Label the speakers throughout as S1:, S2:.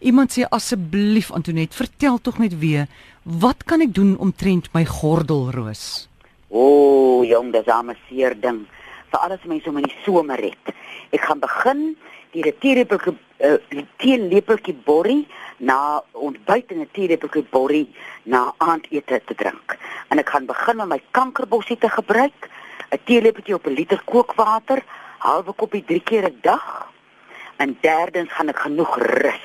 S1: Iemand sê asseblief Antonet, vertel tog net weer, wat kan ek doen omtrent my gordelroos?
S2: O, oh, jong, dis 'n amaseer ding. Vir alles mense om in die somer het. Ek gaan begin die teelepeltjie uh, teelepeltjie borrie na ontbyt en 'n teelepeltjie borrie na aandete te drink. En ek gaan begin met my kankerbossie te gebruik, 'n teelepeltjie op 'n liter kookwater, halwe koppie 3 keer 'n dag. En derdens gaan ek genoeg rus.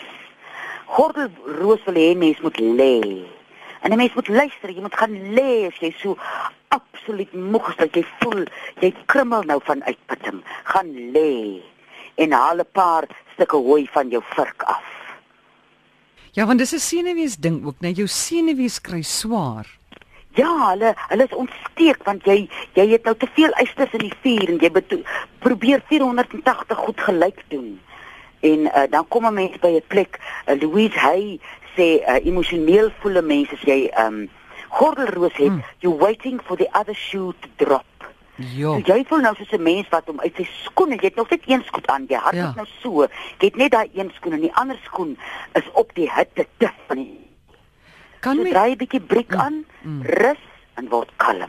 S2: Gordelroos wil hê mens moet lê. En 'n mens moet luister, jy moet gaan lê as jy so absoluut moeg is dat jy voel jy krummel nou van uitputting. Gaan lê en haal 'n paar stukke hooi van jou vurk af.
S1: Ja, want dis 'n senuwees ding ook, net jou senuwees kry swaar.
S2: Ja, hulle hulle is ontsteek want jy jy het nou te veel eisters in die vuur en jy beto- probeer 480 goed gelyk doen. En uh, dan kom 'n mens by 'n plek, uh, Louise Hay sê uh, emosioneel voel 'n mens as jy um gordelroos het,
S1: Hmm.
S2: hmm. you're waiting for the other shoe to drop.
S1: Ja.
S2: So jy voel nou soos 'n mens wat hom uit sy skoene, jy het nog net een skoen aan, jy hart
S1: Ja.
S2: ja. nou so. Jy het net daai een skoen en die ander skoen is op die hitte te van die.
S1: Kan
S2: So
S1: my
S2: draai 'n bietjie briek
S3: Mm.
S2: aan, rus en word kalm.
S3: Ja.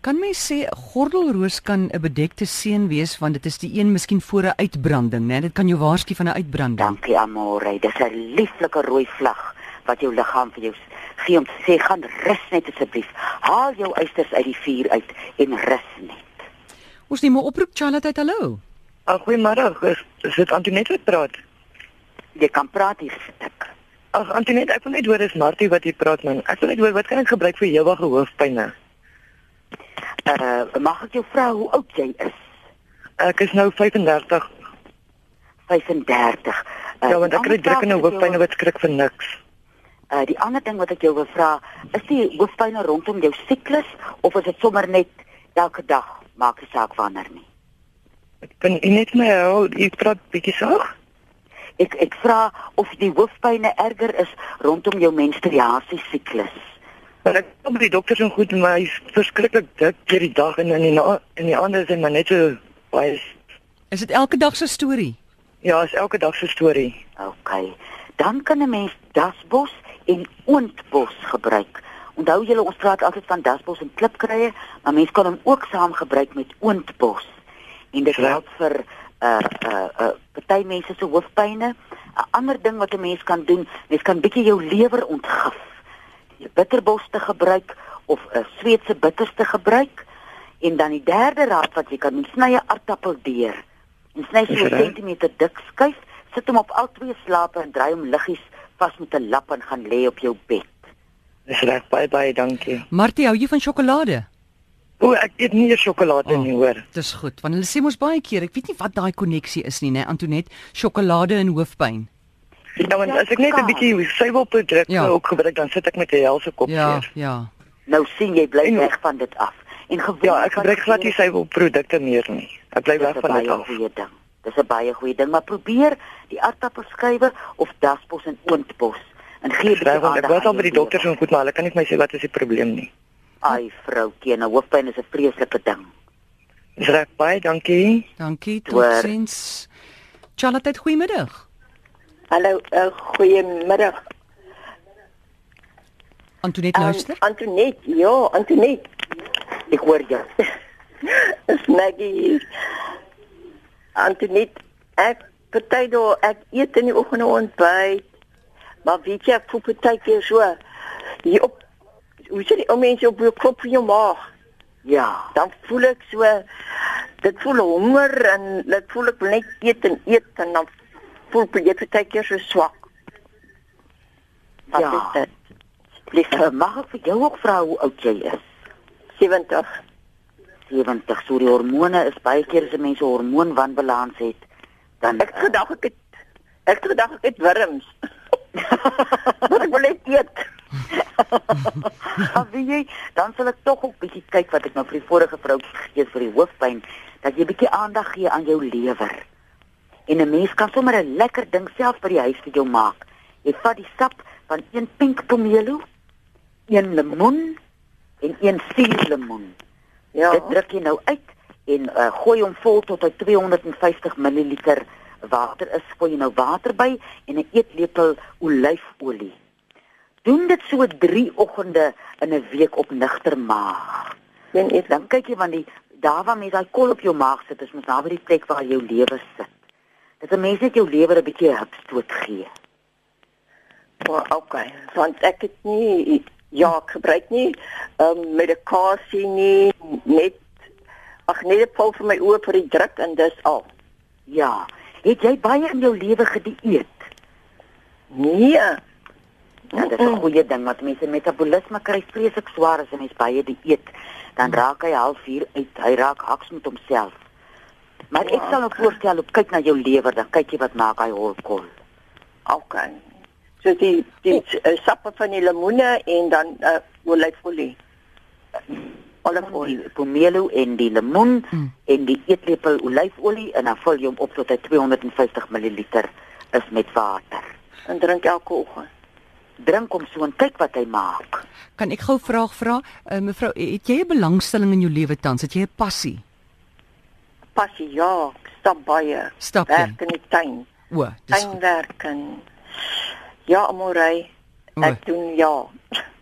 S1: kan my sê gordelroos kan 'n bedekte seën wees want dit is die een miskien voor 'n uitbranding, né? Dit kan jou waarsku van 'n uitbranding.
S2: Dankie amore, dis 'n lieflike rooi vlag wat jou liggaam vir jou s- gee om te sê gaan rus net asseblief. Haal jou eisters uit die vuur uit en rus net.
S1: Ons neem 'n oproep Charlotte uit. Hallo.
S3: Ah, goeiemôre. Is, is dit Antoinette wat praat?
S2: Jy kan praat hier stik.
S3: Ag Antoinette, ek wil net hoor is Martie wat hier praat man. Ek wil net hoor wat kan ek gebruik vir hewige hoofpyne?
S2: Uh mag ek jou vra hoe oud jy is?
S3: Ek is nou 35.
S2: 35. Uh,
S3: ja, want ek kry drukkende hoofpyne
S2: wat
S3: wat skrik vir niks.
S2: uh, die ander ding wat ek jou wil vra, is die hoofpyne rondom jou siklus of is dit sommer net elke dag? Maak nie saak wanneer nie.
S3: Ek kan u net my hou. U praat bietjie saag.
S2: Ek ek vra of die hoofpyne erger is rondom jou menstruasiesiklus.
S3: Want ek kom by die dokter so goed, maar hy's verskriklik dik deur die dag en in die na- in die ander is hy maar net so baie
S1: Is dit elke dag se storie?
S3: Ja, is elke dag se storie.
S2: OK. Dan kan 'n mens dasbos en oondbos gebruik. Onthou julle ons praat altyd van dasbos en klipkruie, maar mens kan hom ook saam gebruik met oondbos. En dit
S3: Ja.
S2: help vir uh uh uh party mense se hoofpyne. 'n Ander ding wat 'n mens kan doen, mens kan bietjie jou lewer ontgif. Die bitterbos te gebruik of 'n uh, Sweedse bitters te gebruik. En dan die derde raad wat jy kan doen, sny 'n aartappel deur. En sny so
S3: Is
S2: 'n
S3: reg.
S2: centimeter dik skuif, sit hom op al twee slape en draai hom liggies vas met 'n lap en gaan lê op jou bed.
S3: Dis reg. Baie baie dankie.
S1: Martie, hou jy van sjokolade?
S3: O, ek eet nie eers sjokolade
S1: Oh.
S3: oh. nie hoor.
S1: Dis goed, want hulle sê mos baie keer, ek weet nie wat daai konneksie is nie, né, Antonet, sjokolade en hoofpyn.
S3: Ja, want as ek net 'n bietjie suiwelprodukte
S1: Ja.
S3: ja. ook gebruik, dan sit ek met 'n helse kop
S1: Ja,
S3: seer.
S1: ja.
S2: Nou sien jy bly
S3: En-
S2: weg van dit af. En gewoonlik
S3: Ja, ek gebruik glad nie
S2: nie
S3: suiwelprodukte meer nie. Ek bly weg
S2: Dis 'n
S3: van dit
S2: baie
S3: af.
S2: goeie ding. Dis 'n baie goeie ding, maar probeer die aartappelskywe of dasbos en oondbos en gee 'n bietjie
S3: Reg, want ek
S2: aandag
S3: was al
S2: aan
S3: by die
S2: jou
S3: dokter so
S2: lewe.
S3: goed, maar hulle kan nie vir my sê wat is die probleem nie.
S2: Ai vrou, teen 'n hoofpyn is 'n vreeslike ding.
S3: Dis reg, baie dankie.
S1: Dankie,
S2: Hoor.
S1: totsiens. Charlotte, goeiemiddag.
S4: Hallo, uh, goeiemiddag.
S1: Antonet luister.
S4: Antonet, Ehm, ja, Antonet.
S2: Ek hoor jou.
S4: Is Maggie hier. Antonet, ek party daar ek eet in die oggend ontbyt. Maar weet jy, ek voel partykeer so hier op hoe sê die ou mense op jou kop van jou maag,
S2: Ja.
S4: dan voel ek so dit voel honger en dit voel ek wil net eet en eet en dan voel ek partykeer so swak. Wat
S2: Ja.
S4: is dit?
S2: Dis uh, mag ek vir jou ook vra hoe oud jy is?
S4: 70.
S2: 70. So die hormone is baie keer as 'n mens 'n hormoonwanbalans het, dan eh,
S4: Ek het gedag ek het ek het gedag ek het wurms. Maar ek wil net eet.
S2: Maar Ah, weet jy, dan sal ek tog ook bietjie kyk wat ek nou vir die vorige vrou gegee het vir die hoofpyn, dat jy bietjie aandag gee aan jou lewer. En 'n mens kan sommer 'n lekker ding self by die huis vir jou maak. Jy vat die sap van een pink pomelo, een lemoen en een suurlemoen.
S4: Ja.
S2: Dit druk jy nou uit en uh, gooi hom vol tot hy 250 ml water is, gooi jy nou water by en 'n eetlepel so 3 oggende in 'n week op nigter maag.
S4: Een eet
S2: Dan kyk jy want die daar waar mens daai kol op jou maag sit, is mens naby die plek waar jou lewer sit. Dit is 'n mens net jou lewer 'n bietjie hupstoot gee.
S4: Maar okay, want ek het nie ja, ek gebruik nie ehm um, medikasie nie, net ag net 'n pil vir my oë vir die druk en dis al.
S2: Ja, het jy baie in jou lewe gedieet?
S4: Nee,
S2: Ja, dit is
S4: Mm.
S2: 'n goeie ding want mense metabolisme kry vreeslik swaar as 'n mens baie dieet. Dan
S4: Mm.
S2: raak hy halfuur uit, hy raak haks met homself. Maar
S4: Ja.
S2: ek sal ook voorstel om kyk na jou lewer, dan kyk jy wat maak hy holkol.
S4: okay. So die die uh, sappe van die lemoene en dan uh, olyfolie. Olyfolie.
S2: Die pomelo en die lemoen mm. en die eetlepel olyfolie en dan vul jy hom op tot hy 250 ml is met water.
S4: En drink elke oggend.
S2: Drink hom so en kyk wat hy maak.
S1: Kan ek gou 'n vraag vra? Uh, mevrou, het jy 'n belangstelling in jou lewe tans? Het jy 'n passie?
S4: Passie ja, ek stap baie.
S1: Stap jy?
S4: Werk in die tuin.
S1: O, dis goed.
S4: Tuinwerk en ja, amorei. Ek
S1: O.
S4: doen ja.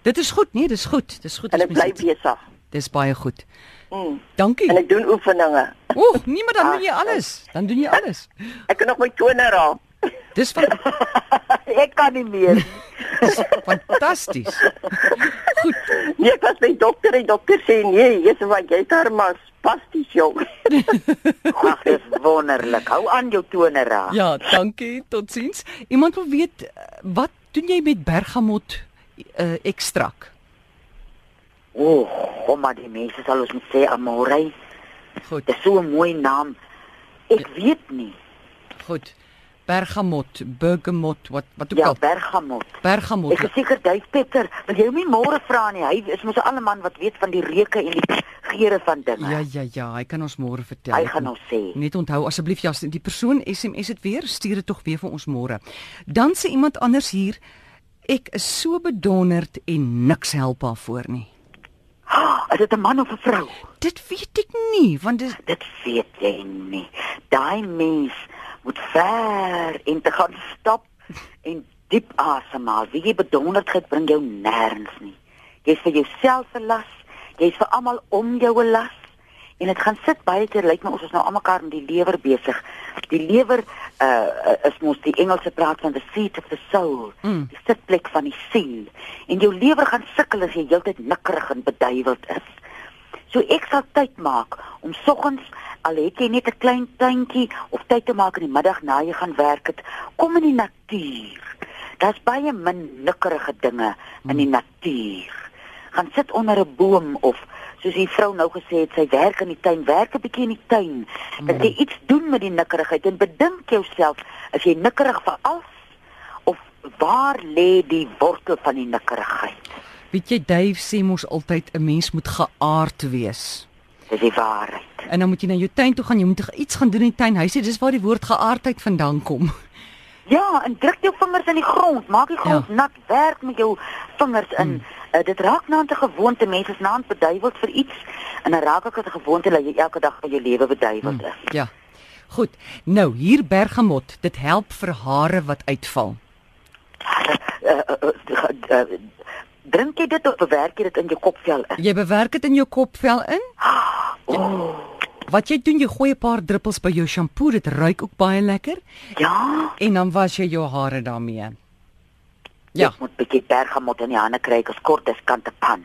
S1: Dit is goed, nee, dis goed. Dis goed
S4: En
S1: as
S4: ek
S1: mens
S4: bly
S1: dit-
S4: besig.
S1: Dis baie goed.
S4: Mm.
S1: Dankie.
S4: En ek doen oefeninge.
S1: Oeg, nee, maar dan
S4: Ah.
S1: doen jy alles. Dan doen jy alles.
S4: Ek kan nog my tone raak.
S1: Dis van
S2: ek kan nie meer.
S1: fantasties. Goed.
S4: Nee, ek was by dokter en dokter sê nee, jy's wat jy daar maar spasties jong.
S2: Ag, dis wonderlik. Hou aan jou tone raak.
S1: Ja, dankie. Totsiens. Iemand wil weet eh, wat doen jy met bergamot uh, ekstrak?
S2: O, oh, maar die mense sal ons moet sê amorei.
S1: Goed,
S2: Dis so 'n mooi naam. Ek
S1: Ja.
S2: weet nie.
S1: goed. Bergamot, bergamot, wat wat ook
S2: Ja,
S1: al.
S2: bergamot.
S1: Bergamot.
S2: Ek is seker Duif Petter, want jy moet môre vra nie. Hy is mos 'n alleman wat weet van die reuke en die geure van dinge.
S1: Ja ja ja, hy kan ons môre vertel.
S2: Hy
S1: Ek
S2: gaan
S1: moet
S2: ons sê.
S1: Net onthou asseblief ja, die persoon SMS dit weer, stuur dit tog weer vir ons môre. Dan sê iemand anders hier, ek is so bedonderd en niks help haar voor nie.
S2: Ah, is dit 'n man of 'n vrou?
S1: Dit weet ek nie, want dis
S2: Dit weet jy nie. Daai mens moet ver en te gaan stap en diep asemhaal. Wie jy bedonderdheid bring jou nêrens nie. Jy's vir jouself 'n las, jy's vir almal om jou 'n las. En dit gaan sit baie keer lyk my ons is nou almekaar met die lewer besig. Die lewer uh is mos die Engelse praat van the seat of the soul,
S1: Mm.
S2: die sitplek van die siel. En jou lewer gaan sukkel as jy heeltyd nikkerig en beduiweld is. So ek sal tyd maak om soggens al het jy net 'n klein tuintjie of tyd te maak in die middag na jy gaan werk het, kom in die natuur. Daar's baie min nikkerige dinge in die natuur. Gaan sit onder 'n boom of soos die vrou nou gesê het, sy werk in die tuin, werk 'n bietjie in die tuin. Dat jy iets doen met die nikkerigheid en bedink jouself as jy nikkerig vir alles of waar lê die wortel van die nikkerigheid?
S1: weet jy Dave sê mos altyd 'n mens moet geaard wees.
S2: Dis die waarheid.
S1: En dan moet jy na jou tuin toe gaan, jy moet iets gaan doen in die tuin. Hy sê dis waar die woord geaardheid vandaan kom.
S2: Ja, en druk jou vingers in die grond, maak die grond
S1: Ja. Hmm.
S2: ja. nat, werk met jou vingers in. Mm. Uh, dit raak nou 'n gewoonte, mense is nou beduiweld vir iets en dan raak ek 'n gewoonte dat jy elke dag van jou lewe beduiweld
S1: Hmm.
S2: is. Mm.
S1: Ja. Goed. Nou hier bergamot, dit help vir hare wat uitval.
S2: Uh, uh, uh, uh, uh, drink jy dit of bewerk jy dit in jou kopvel in?
S1: Jy bewerk dit in jou kopvel in. Wat jy doen, jy gooi 'n paar druppels by jou shampoo, dit ruik ook baie lekker
S2: Ja,
S1: en dan was jy jou hare daarmee. Ja,
S2: ek moet bietjie bergamot in die hande kry, ek is kort as kante pan.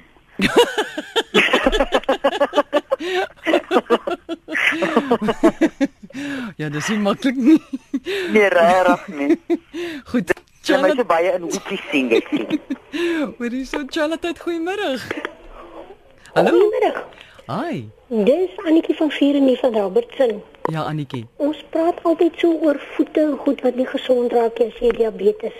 S1: ja, dis nie maklik nie.
S2: Nee, regtig nie.
S1: Goed.
S2: Jy moet so
S1: Charlotte,
S2: baie in hoekies sien ek sien.
S1: hoor hier so Charlotte, goeiemiddag. Hallo.
S5: Goeiemiddag.
S1: Hi.
S5: Dis Annetjie van Vierenie van Robertson.
S1: Ja, Annetjie.
S5: Ons praat altyd so oor voete en goed wat nie gesond raak nie as jy diabetes.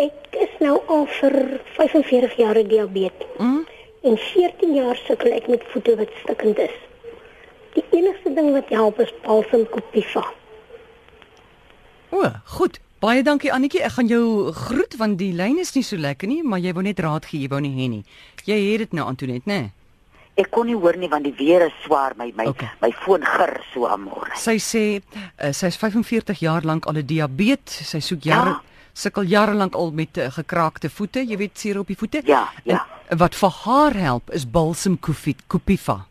S5: Ek is nou al vir 45 jaar diabetes.
S1: Mm?
S5: En 14 jaar sukkel ek met voete wat stikkend is. Die enigste ding wat help is balsam Copiva.
S1: O, goed. Baie dankie Annetjie. Ek gaan jou groet want die lyn is nie so lekker nie, maar jy wou net raad gee, jy wou nie hê nie. Jy het dit nou Antoinette, né? Nee?
S2: Ek kon nie hoor nie want die weer is swaar, my my
S1: Okay.
S2: okay. my foon gir so aan môre.
S1: eh, Sy sê uh, sy is 45 jaar lank al 'n diabetes. Sy soek jare ja.
S2: Ja.
S1: sukkel jare lank al met uh, gekraakte voete, jy weet seer op die voete.
S2: Ja, ja.
S1: En wat vir haar help is balsam koffie- kopiva.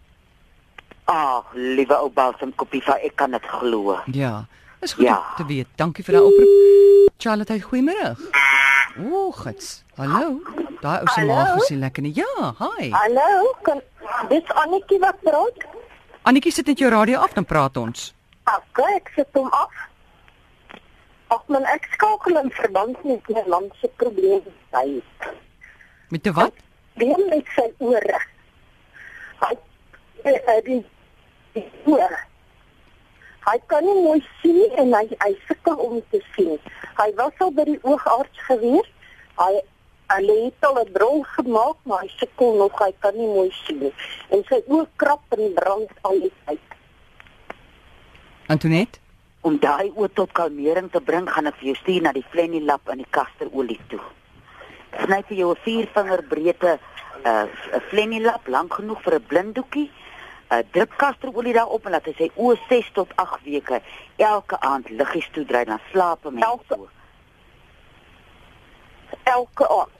S2: Ag, Ah, liewe ou Balsam Kopiva, ek kan dit glo.
S1: Ja. Dis goed
S2: Ja.
S1: om te weet. Dankie vir daai oproep. Charlotte, goeiemôre. O, gits. Hallo. Daai ou se
S6: Hallo?
S1: maag is nie lekker nie. Ja, hi.
S6: Hallo, kan dis Annetjie wat praat?
S1: Annetjie sit net jou radio af dan praat ons.
S6: Ag, ek sit hom af. Ag man, ek skakel in verband met my land se probleme by.
S1: Met die wat?
S6: Deel met sy ore. Hy eh, eh, die die ore. Hy kan nie mooi sien nie en hy hy sukkel om te sien. Hy was al by die oogarts gewees. Hy hulle het al 'n bril gemaak, maar hy sukkel nog, hy kan nie mooi sien nie. En sy oë krap en brand al die tyd.
S1: Antoinette?
S2: Om daai oë tot kalmering te bring, gaan ek vir jou stuur na die Flenny Lab in die kasterolie toe. Sny vir jou 'n viervinger breedte 'n uh, Flenny Lab lank genoeg vir 'n blinddoekie. Uh, druk kasterolie daarop en laat hy sy oë 6 tot 8 weke elke aand liggies toedraai dan slaap 'n mens.
S6: Elke-
S2: so.
S6: elke aand.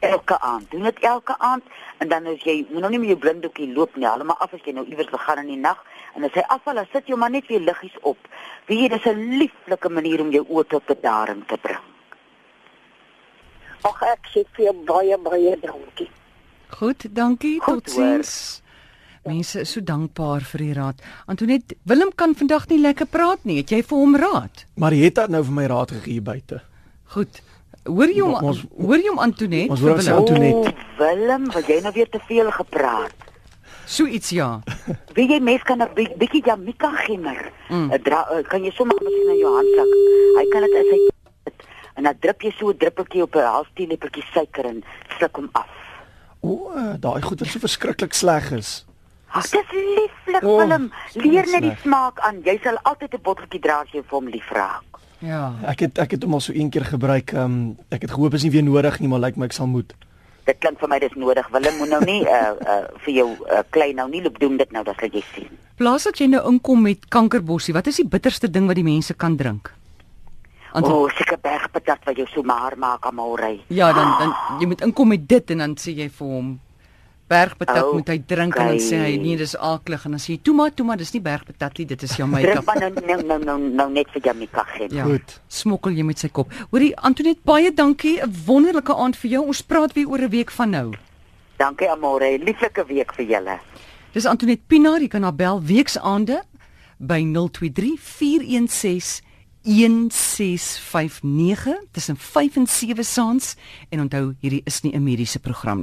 S2: elke aand. Doen dit elke aand en dan as jy moet nou nie met jou blinddoekie loop nie, haal hom maar af as jy nou iewers begaan in die nag en as hy afval, dan sit jy hom maar net weer liggies op. Weet jy, dis 'n lieflike manier om jou oë tot bedaring te bring.
S6: Ag ek sê vir jou baie baie dankie.
S1: Goed, dankie.
S2: Goed,
S1: Tot sins. Mense is so dankbaar vir die raad. Antoinette, Willem kan vandag nie lekker praat nie. Het jy vir hom raad?
S7: Marietta het nou vir my raad gegee hier buite.
S1: Goed. Hoor jy hom
S7: Ons-
S1: hoor jy hom Antoinette?
S7: ons hoor
S1: vir
S7: sy
S1: Willem?
S7: Antoinette. Toe net.
S2: O, Willem, wat jy nou weer te veel gepraat.
S1: So iets ja.
S2: Weet jy, mens kan 'n bi- bietjie Jamaica gimmer. Mm. Dra, eh, kan jy sommer miskien in jou handsak. Hy kan dit in sy sit en dan drup jy so 'n druppeltjie op 'n halfteelepeltjie suiker en sluk hom af.
S7: O, eh, daai goed wat so verskriklik sleg is.
S2: Dis lieflik
S7: Oh,
S2: Willem.
S7: dis
S2: Leer net die
S7: sleg.
S2: smaak aan. Jy sal altyd 'n botteltjie dra as jy vir hom lief raak.
S1: Ja.
S7: Ek het ek het hom al so een keer gebruik. Ehm um, ek het gehoop is nie weer nodig nie, maar lyk my ek sal moet.
S2: Dit klink vir my dis nodig. Willem moet nou nie uh uh vir jou uh, klein nou nie loop doen dit nou dat jy sien.
S1: Plaas dat jy nou inkom met kankerbossie, wat is die bitterste ding wat die mense kan drink?
S2: O,
S1: Want-
S2: oh, seker bergpatat wat jou so maar maak amore.
S1: Ja, dan dan jy moet inkom met dit en dan sê jy vir hom bergpatat
S2: Ou,
S1: moet hy drink en dan sê hy
S2: oké.
S1: nee, dis aklig en dan sê jy toe maar toe maar dis nie bergpatat nie, dit is Jamaica.
S2: Drink maar nou nou nou nou, nou net vir Jamaica geen.
S1: Ja.
S7: Goed.
S1: Smokkel jy met sy kop. Hoorie Antoinette, baie dankie. 'n Wonderlike aand vir jou. Ons praat weer oor 'n week van nou.
S2: Dankie amore. Lieflike week vir julle.
S1: Dis Antoinette Pinaar, jy kan haar bel weksaande by 023 416 1659 tussen 5 en 7 saans en onthou hierdie is nie 'n mediese program nie.